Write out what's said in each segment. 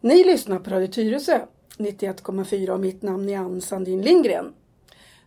Ni lyssnar på Radio Tyresö 91,4 och mitt namn är Ann Sandin Lindgren.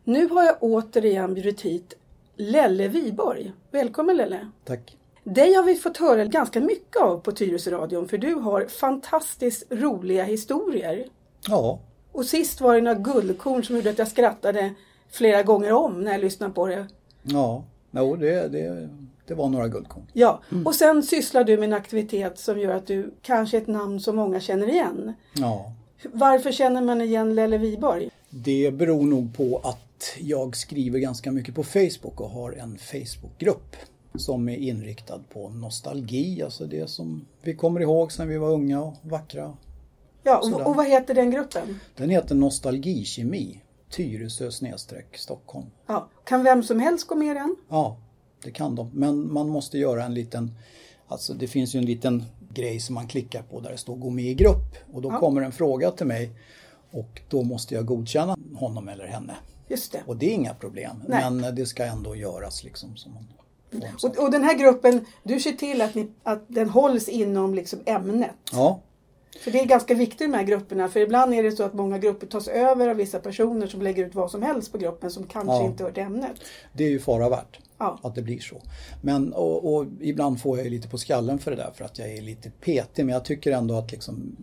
Nu har jag återigen bjudit hit Lelle Viborg. Välkommen Lelle! Tack. Dig har vi fått höra ganska mycket av på Tyresöradion för du har fantastiskt roliga historier. Ja, Och sist var det några guldkorn som gjorde att jag skrattade flera gånger om när jag lyssnade på det. ja. Jo, det, det, det var några guldkorn. Ja, och sen sysslar du med en aktivitet som gör att du kanske är ett namn som många känner igen. Ja. Varför känner man igen Lelle Viborg? Det beror nog på att jag skriver ganska mycket på Facebook och har en Facebookgrupp som är inriktad på nostalgi, alltså det som vi kommer ihåg sen vi var unga och vackra. Ja, och, Sådär. och vad heter den gruppen? Den heter Nostalgikemi, Tyresö snedstreck Stockholm. Ja, kan vem som helst gå med i den? Ja, det kan de. Men man måste göra en liten, alltså det finns ju en liten grej som man klickar på där det står gå med i grupp och då Ja. kommer en fråga till mig och då måste jag godkänna honom eller henne. Just det. Och det är inga problem, Nej. men det ska ändå göras liksom. Som man får en sån. Och, och den här gruppen, du ser till att, ni, att den hålls inom liksom ämnet. Ja, För det är ganska viktigt i de här grupperna. För ibland är det så att många grupper tas över av vissa personer som lägger ut vad som helst på gruppen som kanske Ja. inte hör till ämnet. det är ju fara värt Ja. att det blir så. Men och, och ibland får jag ju lite på skallen för det där för att jag är lite petig men jag tycker ändå att liksom,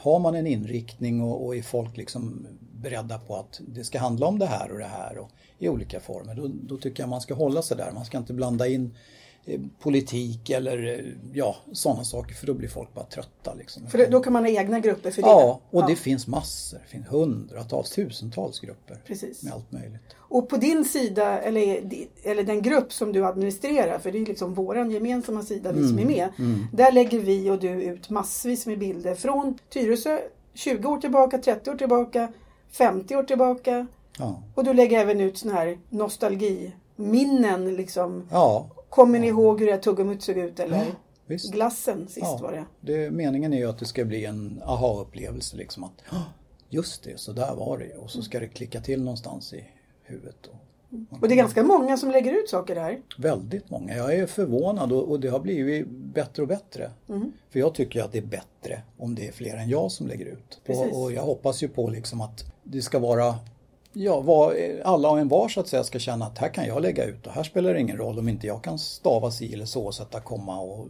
har man en inriktning och, och är folk liksom beredda på att det ska handla om det här och det här och, i olika former då, då tycker jag man ska hålla sig där. Man ska inte blanda in eh, politik eller eh, ja, sådana saker för då blir folk bara trötta. Liksom. För det, då kan man ha egna grupper för det. Ja, och det finns massor. Det finns hundratals, tusentals grupper Precis. med allt möjligt. Och på din sida, eller, eller den grupp som du administrerar, för det är liksom våran gemensamma sida, vi som Mm, är med. Där lägger vi och du ut massvis med bilder från Tyresö 20 år tillbaka, 30 år tillbaka, 50 år tillbaka. Ja, Och du lägger även ut sådana här nostalgiminnen liksom. ja Kommer ni ihåg hur det här tuggummit såg ut eller? visst. Glassen sist Ja, var det. det. Meningen är ju att det ska bli en aha-upplevelse liksom att "Hå, just det, så där var det ju." och så ska det klicka till någonstans i huvudet. Och Och det är ganska många som lägger ut saker där. väldigt många. Jag är förvånad och, och det har blivit bättre och bättre. Mm. För jag tycker att det är bättre om det är fler än jag som lägger ut. Precis. Och, och jag hoppas ju på liksom att det ska vara Ja, var, alla och en var så att säga ska känna att här kan jag lägga ut och här spelar det ingen roll om inte jag kan stava si eller så, sätta komma och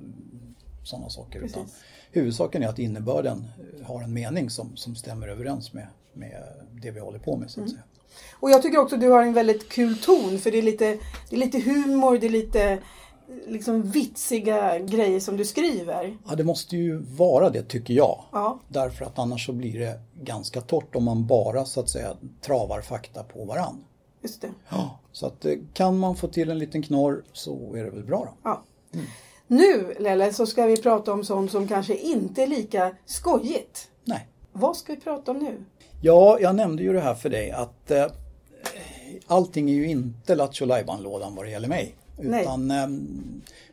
sådana saker. Utan Precis. huvudsaken är att innebörden har en mening som, som stämmer överens med, med det vi håller på Mm. med så att säga. Och jag tycker också att du har en väldigt kul ton för det är lite, det är lite humor, det är lite liksom vitsiga grejer som du skriver. Ja, det måste ju vara det tycker jag. Ja. Därför att annars så blir det ganska torrt om man bara så att säga travar fakta på varann. Just det. Så att eh, kan man få till en liten knorr så är det väl bra då. Ja. Mm. Nu Lelle så ska vi prata om sånt som kanske inte är lika skojigt. Nej. Vad ska vi prata om nu? Ja, jag nämnde ju det här för dig att eh, allting är ju inte Lattjo Lajban-lådan vad det gäller mig. Nej. Utan eh,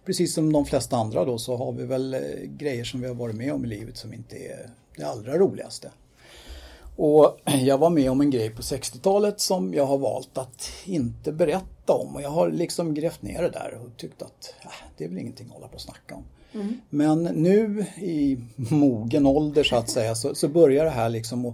precis som de flesta andra då så har vi väl eh, grejer som vi har varit med om i livet som inte är det allra roligaste. Och jag var med om en grej på 60-talet som jag har valt att inte berätta om och jag har liksom grävt ner det där och tyckt att "Ah, det är väl ingenting att hålla på och snacka om. Men nu i mogen ålder så att säga så, så börjar det här liksom att,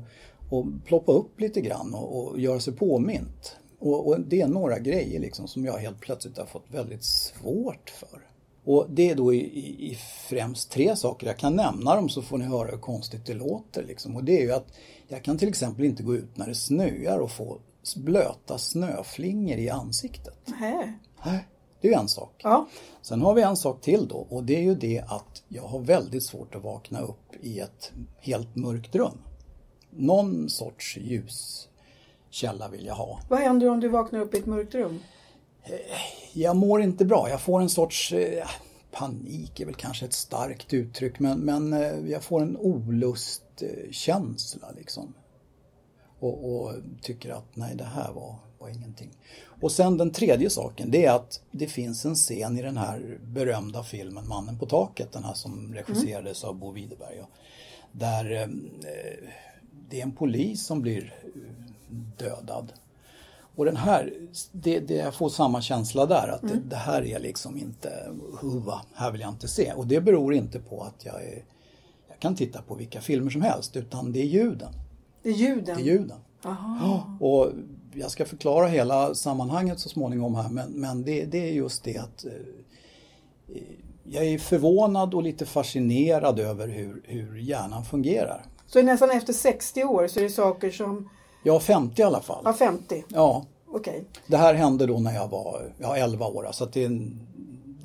att ploppa upp lite grann och, och göra sig påmint. Och, och det är några grejer liksom som jag helt plötsligt har fått väldigt svårt för. Och det är då i, i, i främst tre saker. Jag kan nämna dem så får ni höra hur konstigt det låter. Liksom. Och det är ju att jag kan till exempel inte gå ut när det snöar och få s- blöta snöflingor i ansiktet. Nähä. Nej, Det är ju en sak. Ja, Sen har vi en sak till då och det är ju det att jag har väldigt svårt att vakna upp i ett helt mörkt rum. Någon sorts ljuskälla vill jag ha. vad händer om du vaknar upp i ett mörkt rum? jag mår inte bra. Jag får en sorts eh, panik är väl kanske ett starkt uttryck men, men eh, jag får en olustkänsla eh, känsla, liksom. Och, och tycker att nej det här var, var ingenting. Och sen den tredje saken det är att det finns en scen i den här berömda filmen Mannen på taket, den här som regisserades av Bo Widerberg. och- Där eh, eh, det är en polis som blir eh, dödad. Och den här, det, det, jag får samma känsla där att det, det här är liksom inte, huva, här vill jag inte se. Och det beror inte på att jag är, jag kan titta på vilka filmer som helst utan det är ljuden. Det är ljuden. Det är ljuden. Aha. Och jag ska förklara hela sammanhanget så småningom här men, men det, det är just det att eh, jag är förvånad och lite fascinerad över hur, hur hjärnan fungerar. Så nästan efter 60 år så är det saker som, Jag är 50 i alla fall. ja 50, Ja, okej. det här hände då när jag var ja, 11 år. Så att det, är en-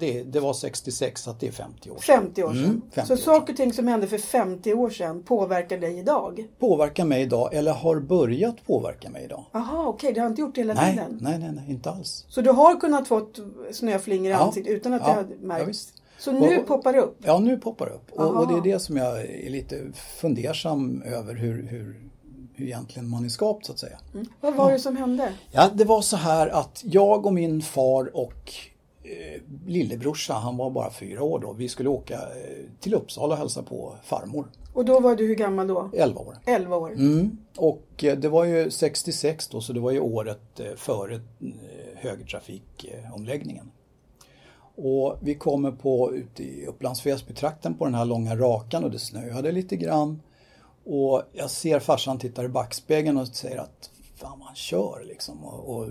det, det var 66 så att det är 50 år sedan. 50 år sedan. Mm, 50 så år saker och ting som hände för 50 år sedan påverkar dig idag? Påverkar mig idag eller har börjat påverka mig idag? Aha, okej, det har inte gjort det hela Nej, tiden? nej, nej, nej, inte alls. Så du har kunnat fått snöflingor i Ja. ansiktet utan att Ja, det hade ja, märkts? visst. så nu Och- poppar det upp? Ja, nu poppar det upp. Och, och det Aha. är det som jag är lite fundersam över hur, hur, hur egentligen man är skapt så att säga. Vad var det som hände? Ja, det var så här att jag och min far och eh, lillebrorsa, han var bara fyra år då, vi skulle åka eh, till Uppsala och hälsa på farmor, Och då var du hur gammal då? 11 år. 11 år? Mm. Och eh, det var ju 66 då, så det var ju året eh, före eh, högertrafikomläggningen. Och vi kommer på ute i Upplands Väsby-trakten på den här långa rakan och det snöade lite grann. Och jag ser farsan tittar i backspegeln och säger att fan man kör liksom. Och, och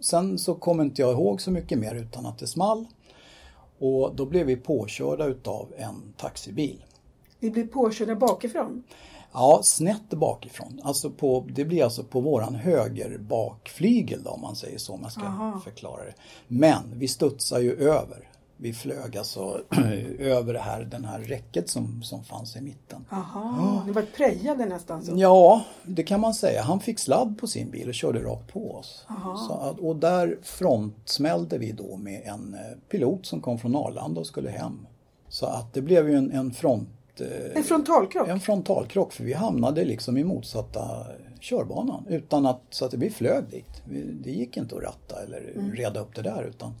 sen så kommer inte jag ihåg så mycket mer utan att det small. Och då blev vi påkörda utav en taxibil. Vi blir påkörda bakifrån? Ja, snett bakifrån. Alltså på, det blir alltså på våran höger bakflygel då, om man säger så, om jag ska Aha. förklara det. Men vi studsar ju över. Vi flög alltså över det här, den här räcket som, som fanns i mitten. Aha, Ah, ni var prejade nästan så? Ja, det kan man säga. Han fick sladd på sin bil och körde rakt på oss. Så att, och där frontsmällde vi då med en eh, pilot som kom från Arlanda och skulle hem. Så att det blev ju en, en front... eh, En frontalkrock? en frontalkrock för vi hamnade liksom i motsatta körbanan utan att, så att vi flög dit. Vi, det gick inte att ratta eller reda upp det där utan.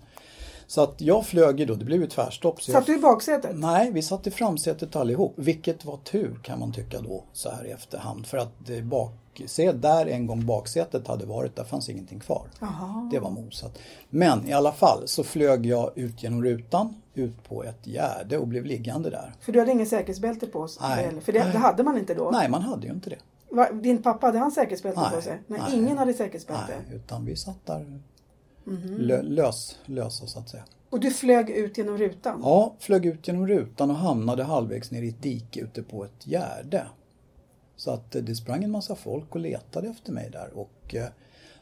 Så att jag flög ju då, det blev ju tvärstopp. Så jag, Satt du i baksätet? nej, vi satt i framsätet allihop, vilket var tur kan man tycka då så här i efterhand för att det bak, se, där en gång baksätet hade varit, där fanns ingenting kvar. Aha. Det var mosat. Men i alla fall så flög jag ut genom rutan, ut på ett gärde och blev liggande där. För du hade ingen säkerhetsbälte på sig? Nej. Eller? För det, det hade man inte då? Nej, man hade ju inte det. Va, din pappa, hade han säkerhetsbälte Nej, på sig? Nej, nej. ingen hade säkerhetsbälte. Nej, utan vi satt där lö, lös, lösa så att säga. Och du flög ut genom rutan? Ja, flög ut genom rutan och hamnade halvvägs ner i ett dike ute på ett gärde. Så att eh, det sprang en massa folk och letade efter mig där och eh,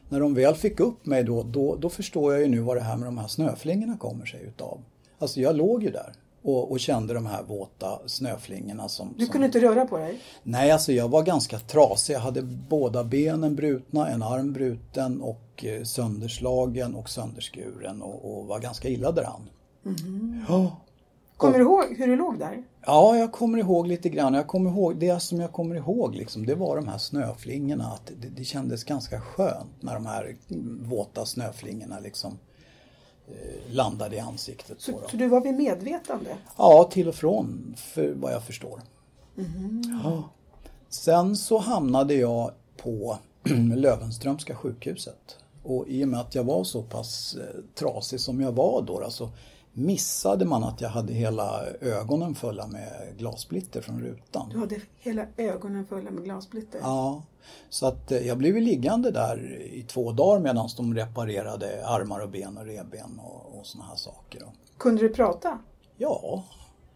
när de väl fick upp mig då, då, då förstår jag ju nu vad det här med de här snöflingorna kommer sig utav. Alltså jag låg ju där och, och kände de här våta snöflingorna som... Du som... kunde inte röra på dig? Nej, alltså jag var ganska trasig. Jag hade båda benen brutna, en arm bruten och eh, sönderslagen och sönderskuren och, och var ganska illa däran. Ja. Kommer du ihåg hur du låg där? Ja, jag kommer ihåg lite grann. Jag kommer ihåg, det som jag kommer ihåg liksom, det var de här snöflingorna. Att det, det kändes ganska skönt när de här mm, våta snöflingorna liksom eh, landade i ansiktet. på Så, dem. så du var vid medvetande? Ja, till och från för vad jag förstår. Mm-hmm. Ja. Sen så hamnade jag på Löwenströmska sjukhuset. Och i och med att jag var så pass eh, trasig som jag var då, alltså missade man att jag hade hela ögonen fulla med glassplitter från rutan. Du hade hela ögonen fulla med glassplitter? Ja, så att eh, jag blev ju liggande där i två dagar medan de reparerade armar och ben och revben och, och såna här saker. Och, Kunde du prata? ja,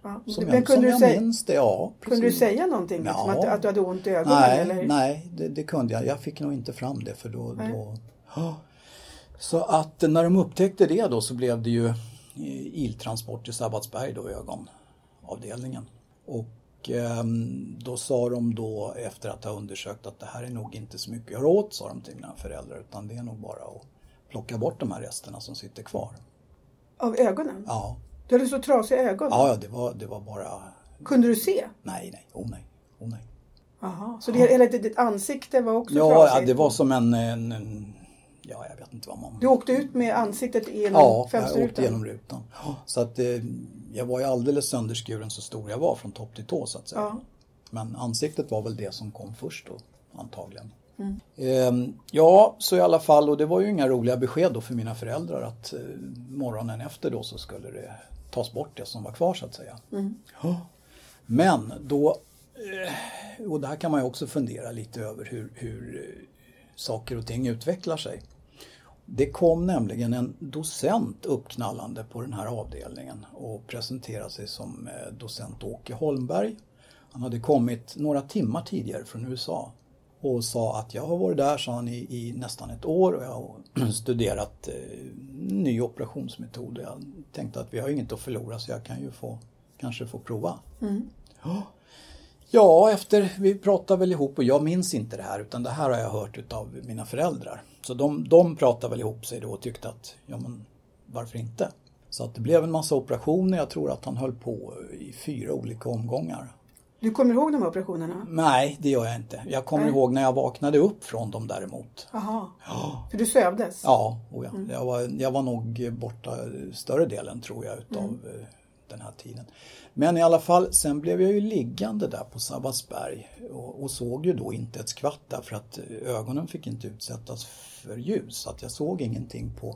Ja. som, Men jag, som kunde, jag du säga, minns det, ja. kunde du precis. säga någonting? Liksom, Ja. att, att du hade ont i ögonen? Nej, eller? nej det, det kunde jag. Jag fick nog inte fram det för då... Nej. då Ja. så att när de upptäckte det då så blev det ju eh, iltransport till Sabbatsberg då, ögonavdelningen. Och ehm, då sa de då efter att ha undersökt att det här är nog inte så mycket att göra åt, sa de till mina föräldrar, utan det är nog bara att plocka bort de här resterna som sitter kvar. Av ögonen? Ja, Du hade så trasiga ögon. ja, ja det, var, det var bara... Kunde du se? Nej, nej, oh nej, oh nej. Aha. Så det, hela ditt ditt ansikte var också Ja, trasigt? ja, det var som en, en, en... Ja, jag vet inte vad man... Du åkte ut med ansiktet genom Ja, jag åkte fönsterrutan? genom rutan. Så att eh, jag var ju alldeles sönderskuren så stor jag var från topp till tå så att säga. Ja. Men ansiktet var väl det som kom först då, antagligen. Mm. Ehm, ja, så i alla fall, och det var ju inga roliga besked då för mina föräldrar att eh, morgonen efter då Mm. så skulle det tas bort det som var kvar så att säga. Ja. Men då eh, och där kan man ju också fundera lite över hur, hur eh, saker och ting utvecklar sig. Det kom nämligen en docent uppknallande på den här avdelningen och presenterade sig som eh, docent Åke Holmberg. Han hade kommit några timmar tidigare från USA och sa att jag har varit där, sa han, i, i nästan ett år och jag har studerat eh, ny operationsmetod. Jag tänkte att vi har inget att förlora så jag kan ju få, kanske få prova. Mm. Ja, efter, vi pratade väl ihop och jag minns inte det här utan det här har jag hört utav mina föräldrar. Så de, de pratade väl ihop sig då och tyckte att, ja men varför inte? Så att det blev en massa operationer, jag tror att han höll på i fyra olika omgångar. Du kommer ihåg de här operationerna? Nej, det gör jag inte. Jag kommer Nej. ihåg när jag vaknade upp från dem däremot. Jaha, Ja, för du sövdes? ja, oh ja. Jag, var, jag var nog borta större delen tror jag utav eh, den här tiden. Men i alla fall, sen blev jag ju liggande där på Sabbatsberg och, och såg ju då inte ett skvatt där för att eh, ögonen fick inte utsättas för ljus. Så att jag såg ingenting på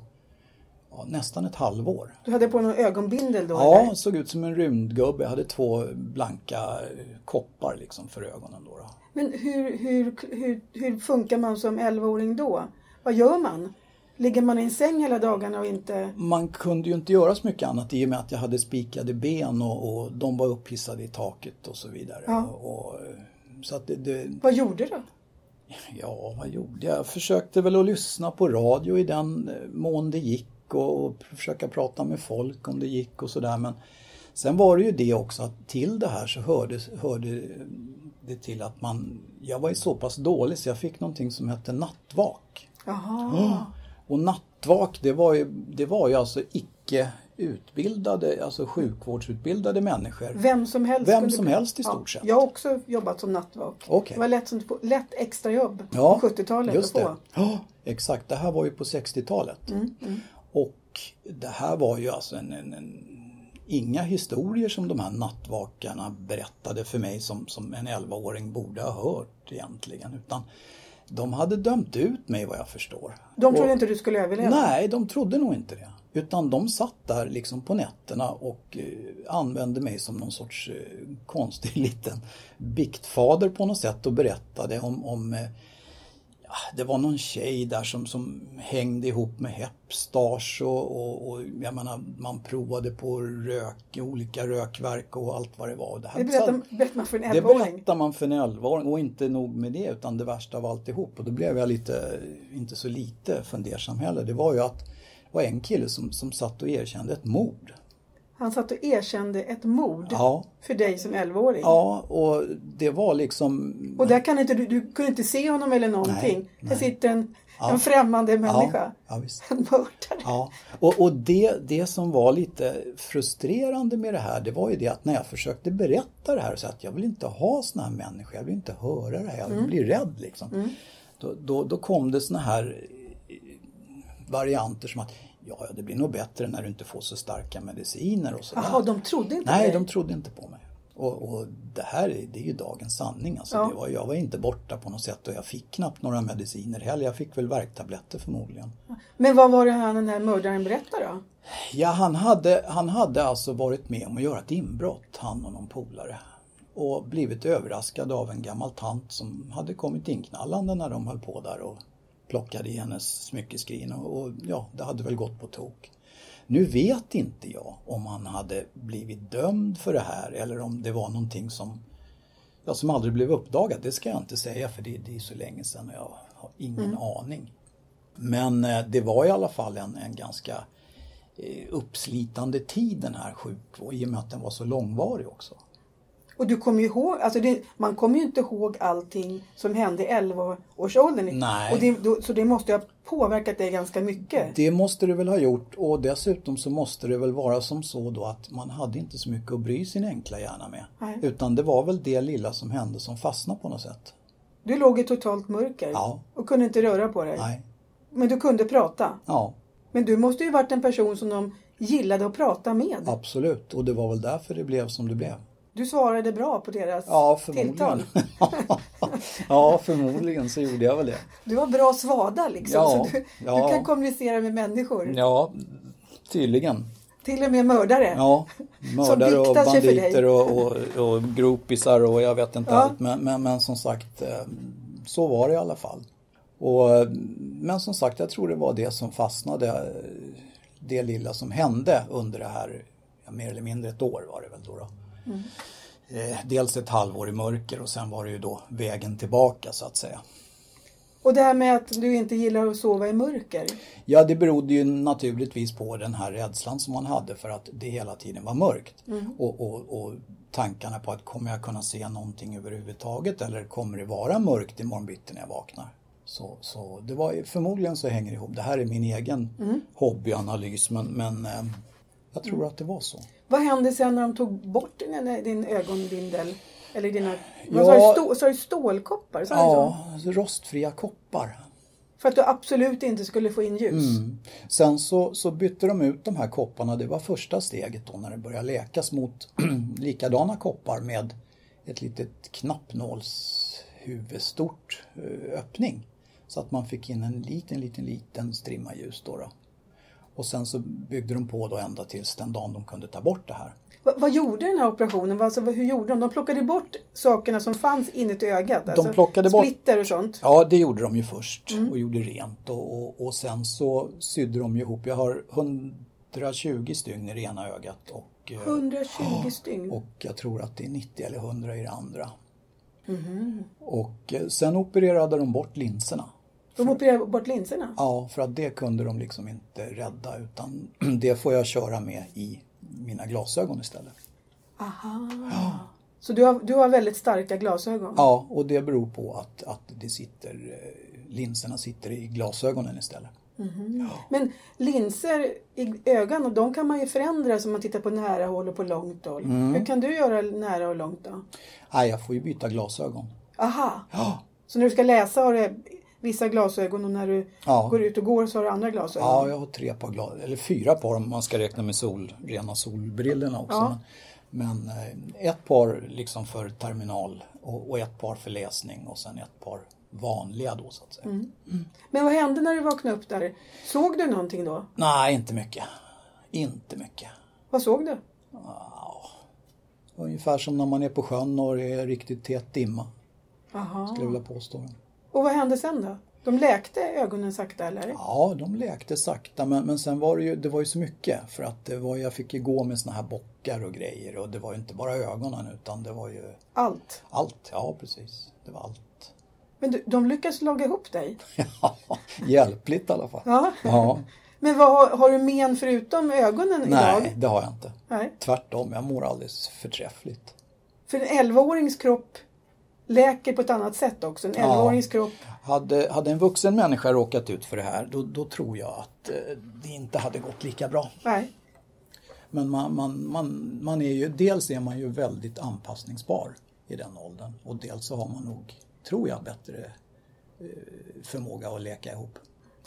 ja, nästan ett halvår. Du hade på någon ögonbindel då? Ja, eller? såg ut som en rymdgubbe. Jag hade två blanka eh, koppar liksom för ögonen då. då. Men hur, hur, hur, hur funkar man som 11-åring då? Vad gör man? Ligger man i en säng hela dagarna och inte... Man kunde ju inte göra så mycket annat i och med att jag hade spikade ben och, och de var upphissade i taket och så vidare. Ja. Och, och, så att det, det, Vad gjorde du? ja, vad gjorde jag? Jag försökte väl att lyssna på radio i den eh, mån det gick och, och försöka prata med folk om det gick och sådär. Men sen var det ju det också att till det här så hörde, hörde det till att man, jag var ju så pass dålig så jag fick någonting som hette nattvak. Jaha. Och nattvak, det var ju, det var ju alltså icke utbildade, alltså sjukvårdsutbildade människor. Vem som helst? Vem kunde som bli- helst i stort ja, sett. Jag har också jobbat som nattvak. Okej. Det var lätt, som, lätt extrajobb Ja, på Mm, 70-talet just att det. få. Ja, exakt. Det här var ju på 60-talet. Och det här var ju alltså en, en, en, inga historier som de här nattvakarna berättade för mig som, som en 11-åring borde ha hört egentligen. Utan de hade dömt ut mig vad jag förstår. De trodde Och- inte du skulle överleva? Nej, de trodde nog inte det. Utan de satt där liksom på nätterna och eh, använde mig som någon sorts eh, konstig liten biktfader på något sätt och berättade om, om eh, ja, det var någon tjej där som, som hängde ihop med Hepstars och, och, och jag menar, man provade på rök, olika rökverk och allt vad det var. Det, här Det berättar, berättar man för en det 11-åring. berättar man för en 11-åring och inte nog med det utan det värsta av alltihop och då blev jag lite, inte så lite fundersam heller. Det var ju att det var en kille som, som satt och erkände ett mord. Han satt och erkände ett mord Ja, för dig som 11-åring. ja och det var liksom... Och där kan inte du, du kunde inte se honom eller någonting. Nej, Här sitter en, Ja. en främmande människa. ja, ja, visst. En mördare. Ja, och, och det, det som var lite frustrerande med det här det var ju det att när jag försökte berätta det här så att jag vill inte ha såna här människor, jag vill inte höra det här, jag Mm. blir rädd liksom. Då, då, då kom det såna här eh, varianter som att ja, ja, det blir nog bättre när du inte får så starka mediciner och sådär. Jaha, de trodde inte Nej, dig. de trodde inte på mig. Och, och det här är- det är ju dagens sanning. Alltså, Ja. det var, jag var inte borta på något sätt och jag fick knappt några mediciner heller. Jag fick väl värktabletter förmodligen. Men vad var det han den här mördaren berättade då? Ja, han hade, han hade alltså varit med om att göra ett inbrott, han och någon polare. Och blivit överraskad av en gammal tant som hade kommit inknallande när de höll på där och plockade i hennes smyckeskrin och, och ja, det hade väl gått på tok. Nu vet inte jag om han hade blivit dömd för det här eller om det var någonting som, ja, som aldrig blev uppdagat. Det ska jag inte säga för det, det är så länge sedan och jag har ingen aning. Men eh, det var i alla fall en, en ganska eh, uppslitande tid den här sjukvården i och med att den var så långvarig också. Och du kommer ju ihåg, alltså det, man kommer ju inte ihåg allting som hände i 11-årsåldern. Nej. Och det, då, så det måste ju ha påverkat dig ganska mycket. Det måste det väl ha gjort och dessutom så måste det väl vara som så då att man hade inte så mycket att bry sin enkla hjärna med. Nej. Utan det var väl det lilla som hände som fastnade på något sätt. Du låg i totalt mörker Ja. och kunde inte röra på dig. Nej. Men du kunde prata. Ja, Men du måste ju varit en person som de gillade att prata med. absolut. Och det var väl därför det blev som det blev. Du svarade bra på deras Ja, tilltal. förmodligen. ja, förmodligen så gjorde jag väl det. Du har bra svada liksom. Ja, så du, ja. du kan kommunicera med människor. Ja, tydligen. Till och med mördare. Ja, mördare och biktar sig för dig. banditer och, och, och gropisar och jag vet inte Ja. allt. Men, men, men som sagt, eh, så var det i alla fall. Och, eh, men som sagt, jag tror det var det som fastnade, eh, det lilla som hände under det här, ja, mer eller mindre ett år var det väl då. då. Mm. Eh, Dels ett halvår i mörker och sen var det ju då vägen tillbaka så att säga. Och det här med att du inte gillar att sova i mörker. Ja, det berodde ju naturligtvis på den här rädslan som man hade för att det hela tiden var mörkt. Och, och, och tankarna på att kommer jag kunna se någonting överhuvudtaget eller kommer det vara mörkt imorgon bitti när jag vaknar? Så, så det var, förmodligen så hänger det ihop. Det här är min egen hobbyanalys men, men eh, jag tror att det var så. Vad hände sen när de tog bort din, din ögonbindel? Eller dina... Ja. Man sa ju stå- sa ju stålkoppar, sa du så? Ja, rostfria koppar. För att du absolut inte skulle få in ljus. Mm. Sen så, så bytte de ut de här kopparna, det var första steget då när det började läkas mot likadana koppar med ett litet knappnålshuvudstort eh, öppning. Så att man fick in en liten, liten, liten strimma ljus då. då. Och sen så byggde de på då ända tills den dagen de kunde ta bort det här. Va, vad gjorde den här operationen? Va- Alltså, vad- hur gjorde de? De plockade bort sakerna som fanns inuti ögat. alltså, plockade bort- Splitter och sånt. Ja, det gjorde de ju först och gjorde rent och, och, och sen så sydde de ju ihop. Jag har 120 stygn i det ena ögat och eh, 120 stygn. Och jag tror att det är 90 eller 100 i det andra. Och eh, sen opererade de bort linserna. De opererade bort linserna. Ja, för att det kunde de liksom inte rädda utan det får jag köra med i mina glasögon istället. Aha. Så du har, du har väldigt starka glasögon? Ja, och det beror på att, att det sitter, eh, linserna sitter i glasögonen istället. Men linser i ögon, och de kan man ju förändra så man tittar på nära håll och på långt håll. Mm. Hur kan du göra nära och långt då? Nej, jag får ju byta glasögon. Aha! Ja, Så när du ska läsa har du vissa glasögon och när du Ja. går ut och går så har du andra glasögon? ja jag har tre par glasögon, eller fyra par om man ska räkna med sol, rena solbrillorna också. Ja. Men, men eh, ett par liksom för terminal och, och ett par för läsning och sen ett par vanliga då så att säga. Men vad hände när du vaknade upp där? Såg du någonting då? Nej, inte mycket. Inte mycket. Vad såg du? Ungefär som när man är på sjön och det är riktigt tät dimma, Aha. skulle jag vilja påstå. Och vad hände sen då? De läkte ögonen sakta eller? Ja, de läkte sakta men, men sen var det ju, det var ju så mycket för att det var, jag fick ju gå med såna här bockar och grejer och det var ju inte bara ögonen utan det var ju Allt. Allt, ja precis. Det var allt. Men du, de lyckades laga ihop dig? Ja, hjälpligt i alla fall. Ja. Ja. Men vad, har- har du men förutom ögonen Nej, idag? det har jag inte. Nej. Tvärtom, jag mår alldeles förträffligt. För en 11-årings kropp läker på ett annat sätt också. En 11-årings kropp. Hade, hade en vuxen människa råkat ut för det här, då, då tror jag att eh, det inte hade gått lika bra. Nej. Men man, man, man, man är ju, dels är man ju väldigt anpassningsbar i den åldern och dels så har man nog, tror jag, bättre eh, förmåga att läka ihop.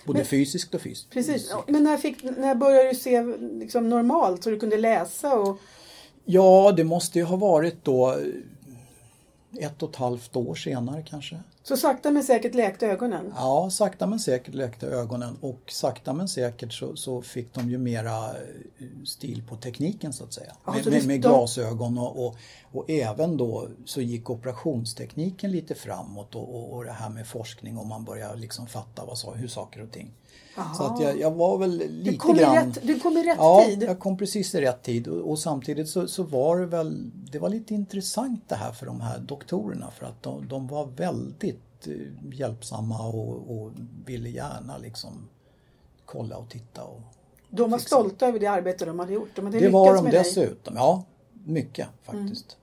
Både fysiskt och fysiskt. Precis. Men när, fick, när började du se liksom, normalt så du kunde läsa och Ja, det måste ju ha varit då eh, ett och ett halvt år senare kanske. så sakta men säkert läkte ögonen? Ja, sakta men säkert läkte ögonen och sakta men säkert så, så fick de ju mera eh, stil på tekniken så att säga. Ja, med, så med, det- med de- glasögon och, och, och även då så gick operationstekniken lite framåt och, och, och det här med forskning och man började liksom fatta vad, sa- hur saker och ting. Så att jag, jag var väl lite Du kom, i grann... rätt, du kom i rätt Ja, tid. jag kom precis i rätt tid och, och samtidigt så, så var det väl, det var lite intressant det här för de här doktorerna för att de, de var väldigt eh, hjälpsamma och, och ville gärna liksom kolla och titta. Och, De var stolta över det arbete de hade gjort. De hade det var lyckats de med dig. Mm. dessutom, ja, mycket faktiskt.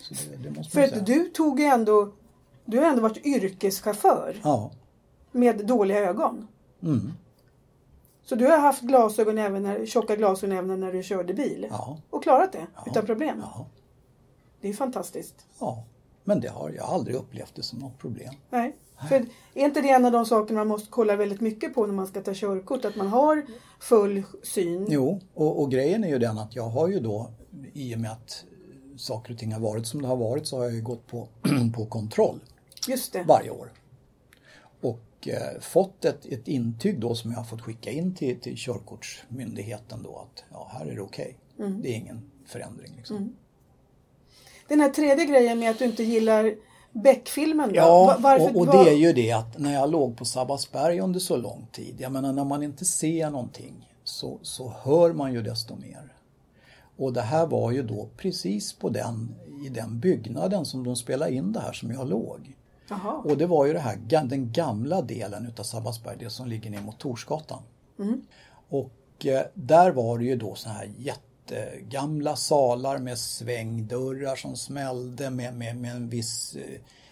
Så det, det måste För man säga. att du tog ju ändå, du har ändå varit yrkeschaufför Ja, med dåliga ögon. mm, Så du har haft glasögon även när, tjocka glasögon även när du körde bil. Ja. Och klarat det utan problem. ja, Det är ju fantastiskt. ja. Men det har jag har aldrig upplevt det som något problem. Nej. För är inte det en av de saker man måste kolla väldigt mycket på när man ska ta körkort? Att man har full syn. Jo, och, och grejen är ju den att jag har ju då i och med att saker och ting har varit som det har varit så har jag ju gått på, på kontroll Just det. varje år. Och och eh, fått ett, ett intyg då som jag har fått skicka in till, till körkortsmyndigheten då att ja, här är det okej. Det är ingen förändring. Liksom. Den här tredje grejen med att du inte gillar Beck-filmen. då. Ja, Va- varför- och, och var- det är ju det att när jag låg på Sabbatsberg under så lång tid, jag menar när man inte ser någonting så, så hör man ju desto mer. Och det här var ju då precis på den, i den byggnaden som de spelade in det här som jag låg. Jaha. Och det var ju det här, ga- den gamla delen utav Sabbatsberg, det som ligger ner mot Torsgatan. Mm. Och eh, där var det ju då såna här jättegamla salar med svängdörrar som smällde med, med, med en viss eh,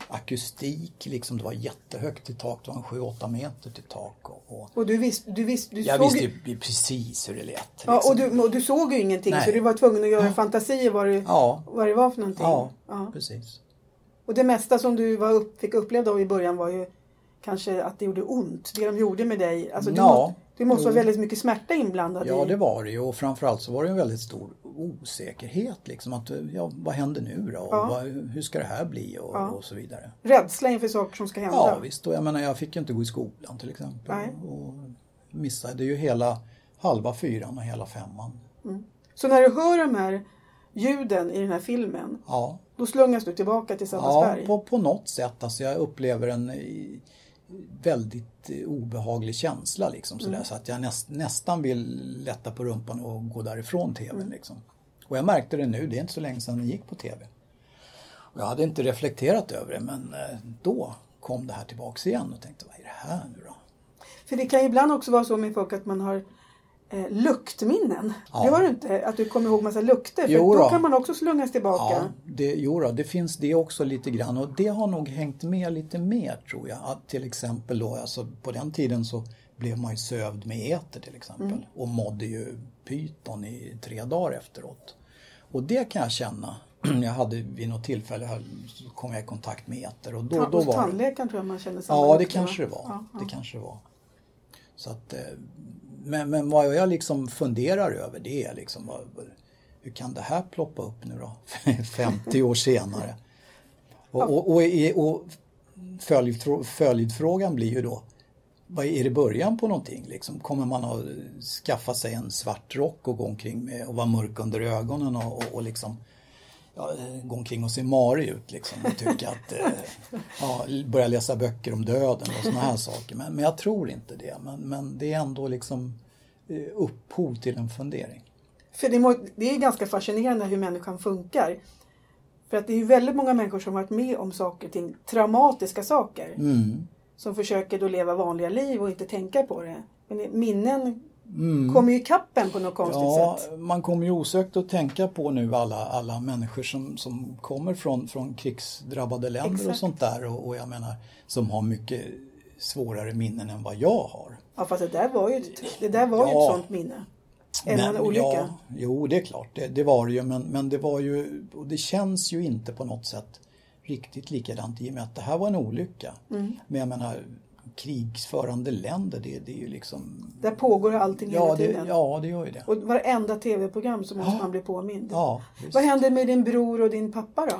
akustik. Liksom det var jättehögt i tak, det var en 7-8 meter till tak. Och, och Och du visste, du visste, du jag såg... visste ju precis hur det lät. Liksom. Ja, och du, och du såg ju ingenting Nej. så du var tvungen att göra fantasier vad det, ja, vad det var för någonting. ja, Ja. precis. Och det mesta som du var upp, fick uppleva då i början var ju kanske att det gjorde ont, det de gjorde med dig. Alltså, du, Ja. måste, det måste vara väldigt mycket smärta inblandad Ja, i. det var det ju och framförallt så var det en väldigt stor osäkerhet. Liksom, att, ja, vad händer nu då? Och Ja. vad, hur ska det här bli? Och, Ja. och så vidare. Rädsla inför saker som ska hända. Ja, visst. Och jag menar, jag fick ju inte gå i skolan till exempel. Nej. Och missade ju hela halva fyran och hela femman. Så när du hör de här ljuden i den här filmen, Ja, då slungas du tillbaka till ja Sabbatsberg. på, på något sätt. Alltså jag upplever en eh, väldigt eh, obehaglig känsla liksom sådär. Så att jag näst, nästan vill lätta på rumpan och gå därifrån TVn liksom. Och jag märkte det nu, det är inte så länge sedan den gick på TV. Och jag hade inte reflekterat över det men eh, då kom det här tillbaks igen och tänkte vad är det här nu då? För det kan ju ibland också vara så med folk att man har eh, luktminnen. Ja. Det har du inte, att du kommer ihåg massa lukter. För Jo då då. kan man också slungas tillbaka. Ja, det, jo då, det finns det också lite grann och det har nog hängt med lite mer tror jag. Att till exempel då, alltså på den tiden så blev man ju sövd med äter till exempel Mm. och mådde ju pyton i tre dagar efteråt. Och det kan jag känna. Jag hade vid något tillfälle här, så kom jag i kontakt med äter och då, Ta- då Hos var det... tandläkaren tror jag man känner samma Ja, det lukter, va? kanske det var. Ja, ja. Det kanske det var. Så att, eh, men, men vad jag liksom funderar över det är liksom vad- vad- hur kan det här ploppa upp nu då? 50 år senare. Och, och, och, i- och följdfrå- följdfrågan blir ju då vad är det början på någonting? Liksom, kommer man att skaffa sig en svart rock och gå omkring med och vara mörk under ögonen och, och, och liksom ja, eh, gå omkring och se marig ut liksom och tycka att eh, ja, börja läsa böcker om döden och såna här saker. Men, men jag tror inte det. Men, men det är ändå liksom eh, upphov till en fundering. För det, må, det är ganska fascinerande hur människan funkar. För att det är ju väldigt många människor som varit med om saker och ting, traumatiska saker. Mm. Som försöker då leva vanliga liv och inte tänka på det. Men minnen Mm. kommer ju i kappen på något konstigt Ja, sätt. man kommer ju osökt att tänka på nu alla, alla människor som, som kommer från, från krigsdrabbade länder och Exakt. sånt där och, och jag menar som har mycket svårare minnen än vad jag har. Ja, fast det där var ju ett, det där var ju Ja. ett sånt minne. Även en olycka. Ja, jo, det är klart, det, det var det ju. Men, men det var ju, och det känns ju inte på något sätt riktigt likadant i och med att det här var en olycka. Mm. Men jag menar, krigsförande länder, det, det är ju liksom... Där pågår allting Ja hela det, tiden. ja, det gör ju det. Och varenda tv-program så måste man bli påmind. Ja, visst. Vad hände med din bror och din pappa då?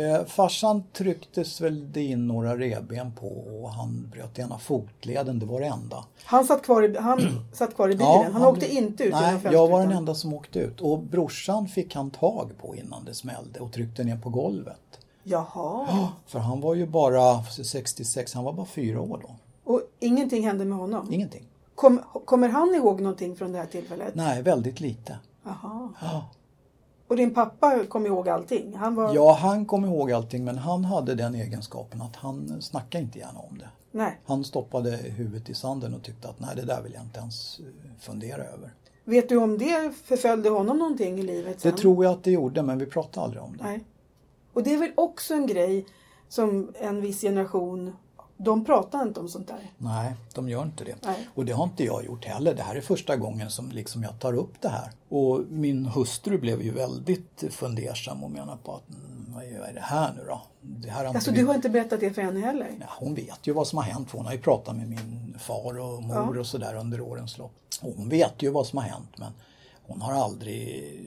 Eh, farsan trycktes väl det in några revben på och han bröt ena fotleden, det var det enda. Han satt kvar i, han satt kvar i bilen. han, åkte inte ut Nej, genom jag var fönstret. den enda som åkte ut. Och brorsan fick han tag på innan det smällde och tryckte ner på golvet. Jaha. För han var ju bara 66, han var bara fyra år då. Och ingenting hände med honom? Ingenting. Kom, kommer han ihåg någonting från det här tillfället? Nej, väldigt lite. Jaha. Ja. Och din pappa kom ihåg allting? Han var... Ja, han kom ihåg allting men han hade den egenskapen att han snackade inte gärna om det. Nej. Han stoppade huvudet i sanden och tyckte att nej, det där vill jag inte ens eh, fundera över. Vet du om det förföljde honom någonting i livet sen? Det tror jag att det gjorde men vi pratade aldrig om det. Nej. Och det är väl också en grej som en viss generation, de pratar inte om sånt där. Nej, de gör inte det. Nej. Och det har inte jag gjort heller. Det här är första gången som liksom jag tar upp det här. Och min hustru blev ju väldigt fundersam och menar på att "Mm, vad är det här nu då? Det här har inte Alltså vi- du har inte berättat det för henne heller? Ja, hon vet ju vad som har hänt. Hon har ju pratat med min far och mor Ja. och sådär under årens lopp. Och Hon vet ju vad som har hänt men hon har aldrig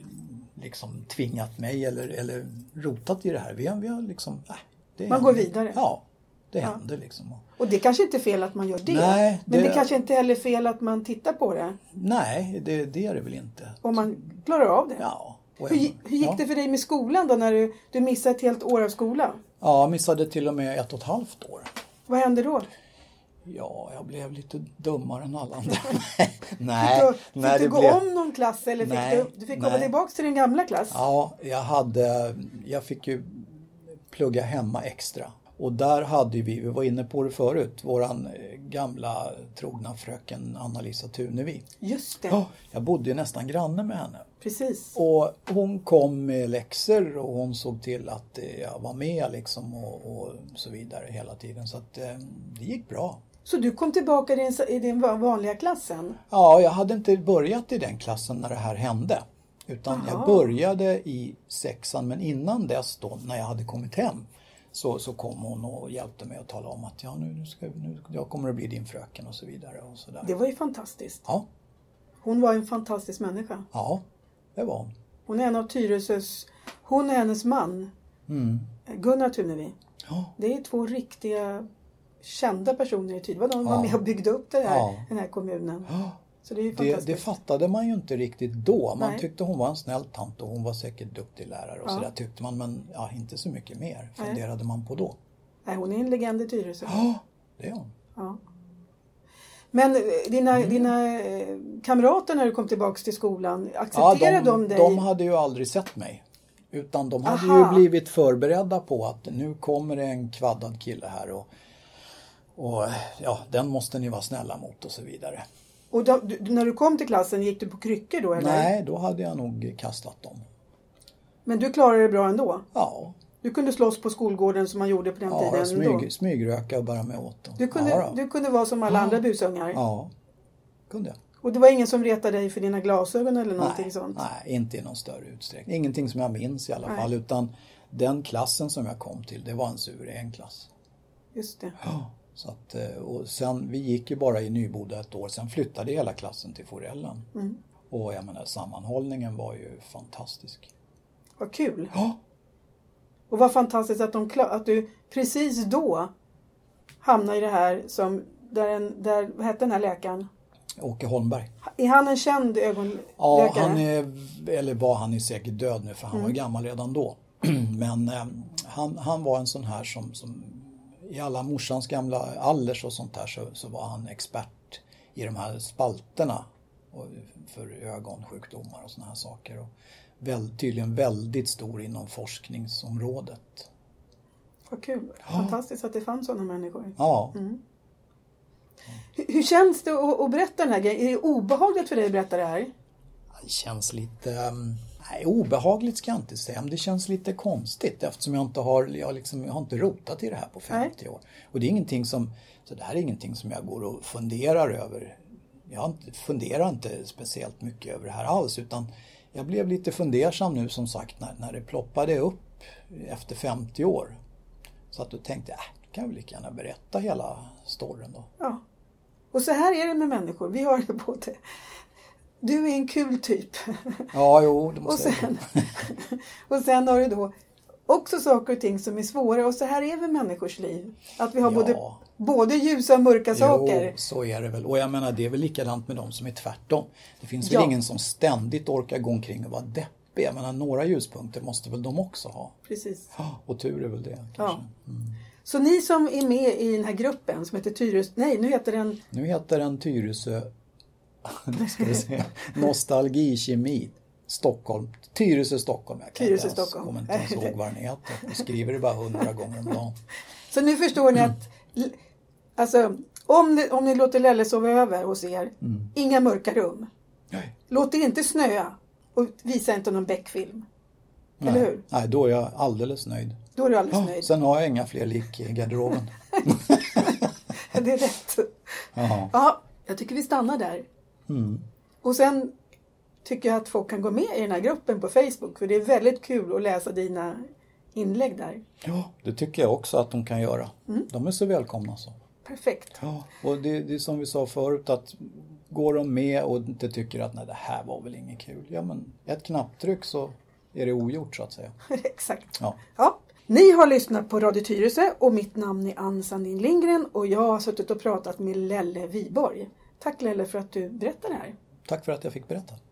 liksom tvingat mig eller, eller rotat i det här. Vi har, vi har liksom, äh, det Man händer. går vidare. Ja, Det händer liksom. Och det kanske inte är fel att man gör det. Nej, Men det det- kanske inte heller är fel att man tittar på det. Nej, det, det är det väl inte. Om man klarar av det. Ja. och Hur, även- gi- hur gick ja. det för dig med skolan då när du, du missade ett helt år av skolan? Ja, jag missade till och med ett och ett halvt år. Vad hände då? Ja, jag blev lite dummare än alla andra. nej, fick nej, du, nej fick det du gå blev... om någon klass eller fick Nej, du, du fick komma nej. tillbaka till din gamla klass? Ja, jag hade... Jag fick ju plugga hemma extra. Och där hade vi, vi var inne på det förut, våran eh, gamla trogna fröken Anna-Lisa Tunevi. Just det, Ja, jag bodde ju nästan granne med henne. precis. Och hon kom med läxor och hon såg till att eh, jag var med liksom och, och så vidare hela tiden. Så att eh, det gick bra. Så du kom tillbaka i din, i din va- vanliga klass sen? Ja, jag hade inte börjat i den klassen när det här hände. Utan Jaha. jag började i sexan men innan dess då när jag hade kommit hem så, så kom hon och hjälpte mig att tala om att ja, nu, nu, ska, nu jag kommer att bli din fröken och så vidare. Och så Det där. var ju fantastiskt. Ja, Hon var en fantastisk människa. ja, det var hon. Hon är en av Tyresös... Hon och hennes man, Mm. Gunnar Tunevi. Ja, Det är två riktiga kända personer i Tyresö. Det var de som Ja. var med och byggde upp det här, Ja. den här kommunen. ja. Så det är ju Det, fantastiskt. det fattade man ju inte riktigt då. Man Nej. tyckte hon var en snäll tant och hon var säkert duktig lärare och Ja. sådär tyckte man men ja, inte så mycket mer Nej. funderade man på då. Nej, hon är en legend i Tyresö. Ja, det är hon. Ja. Men eh, dina, Mm. dina eh, kamrater när du kom tillbaka till skolan, accepterade de, dig? de hade ju aldrig sett mig. Utan de hade Aha. ju blivit förberedda på att nu kommer det en kvaddad kille här och, och ja, den måste ni vara snälla mot och så vidare. Och då, du, när du kom till klassen, gick du på kryckor då? Eller? Nej, då hade jag nog kastat dem. Men du klarade det bra ändå? Ja, Du kunde slåss på skolgården som man gjorde på den ja tiden? ändå. smyg, smygröka och bära mig åt dem. Du kunde, ja, då. du kunde vara som alla andra busungar? ja, kunde jag. Och det var ingen som retade dig för dina glasögon eller någonting nej, sånt? Nej, inte i någon större utsträckning. Ingenting som jag minns i alla Nej. fall utan den klassen som jag kom till, det var en sur en klass. Just det. Ja, Så att, eh, och sen, vi gick ju bara i Nyboda ett år, sen flyttade hela klassen till Forellen. Mm. Och jag menar sammanhållningen var ju fantastisk. Vad kul! Ja, Och vad fantastiskt att, de, kla- att du precis då hamnade i det här som, där, en, där vad hette den här läkaren? Åke Holmberg. Är han en känd ögonläkare? Ja, han är, eller var han är säkert död nu för han var gammal redan då. Men eh, han, han var en sån här som, som i alla morsans gamla allers och sånt där så, så var han expert i de här spalterna och för ögonsjukdomar och såna här saker. Och väl, tydligen väldigt stor inom forskningsområdet. Vad kul! Fantastiskt att det fanns sådana människor. Ja, Hur, hur känns det att, att berätta den här grejen? Är det obehagligt för dig att berätta det här? det känns lite ehm, Nej, obehagligt ska jag inte säga, men det känns lite konstigt eftersom jag inte har, jag liksom, jag har inte rotat i det här på 50 år. Och det är ingenting som, så det här är ingenting som jag går och funderar över. Jag har inte, funderar inte speciellt mycket över det här alls utan jag blev lite fundersam nu som sagt när, när det ploppade upp efter 50 år. Så att då tänkte jag, äh, då kan jag väl lika gärna berätta hela storyn då. Ja. Och så här är det med människor, vi har det både. Du är en kul typ. Ja, jo, det Och måste jag sen, och sen har du då också saker och ting som är svåra och så här är vi människors liv. Att vi har Ja. både, både ljusa och mörka saker. Jo, så är det väl. Och jag menar det är väl likadant med de som är tvärtom. Det finns Ja. väl ingen som ständigt orkar gå omkring och vara deppig. Jag menar några ljuspunkter måste väl de också ha. Precis. Och tur är väl det Ja. kanske. Mm. Så ni som är med i den här gruppen som heter Tyres... Nej, nu heter den... Nu heter den Tyresö nu ska vi se. Nostalgikemi Stockholm. Tyresö Stockholm. Jag kan Tyresö inte ens, Stockholm. kommer inte ens ihåg vad den heter. Jag skriver det bara hundra gånger om dagen. Så nu förstår Mm. ni att... Alltså, om ni, om ni låter Lelle sova över hos er, Mm. inga mörka rum. Nej. Låt det inte snöa och visa inte någon Beck-film. Eller hur? Nej, då är jag alldeles nöjd. Då är du alldeles Ja, nöjd. sen har jag inga fler lik i garderoben. Det är rätt. Jaha. Ja, jag tycker vi stannar där. Mm. Och sen tycker jag att folk kan gå med i den här gruppen på Facebook för det är väldigt kul att läsa dina inlägg där. Ja, det tycker jag också att de kan göra. De är så välkomna så. Perfekt. Ja, och det, det är som vi sa förut att går de med och inte tycker att nej det här var väl inget kul. Ja men ett knapptryck så är det ogjort så att säga. Exakt. Ja. Ja, Ni har lyssnat på Radio Tyresö och mitt namn är Ann Sandin Lindgren och jag har suttit och pratat med Lelle Viborg. Tack Lelle för att du berättar det här. Tack för att jag fick berätta.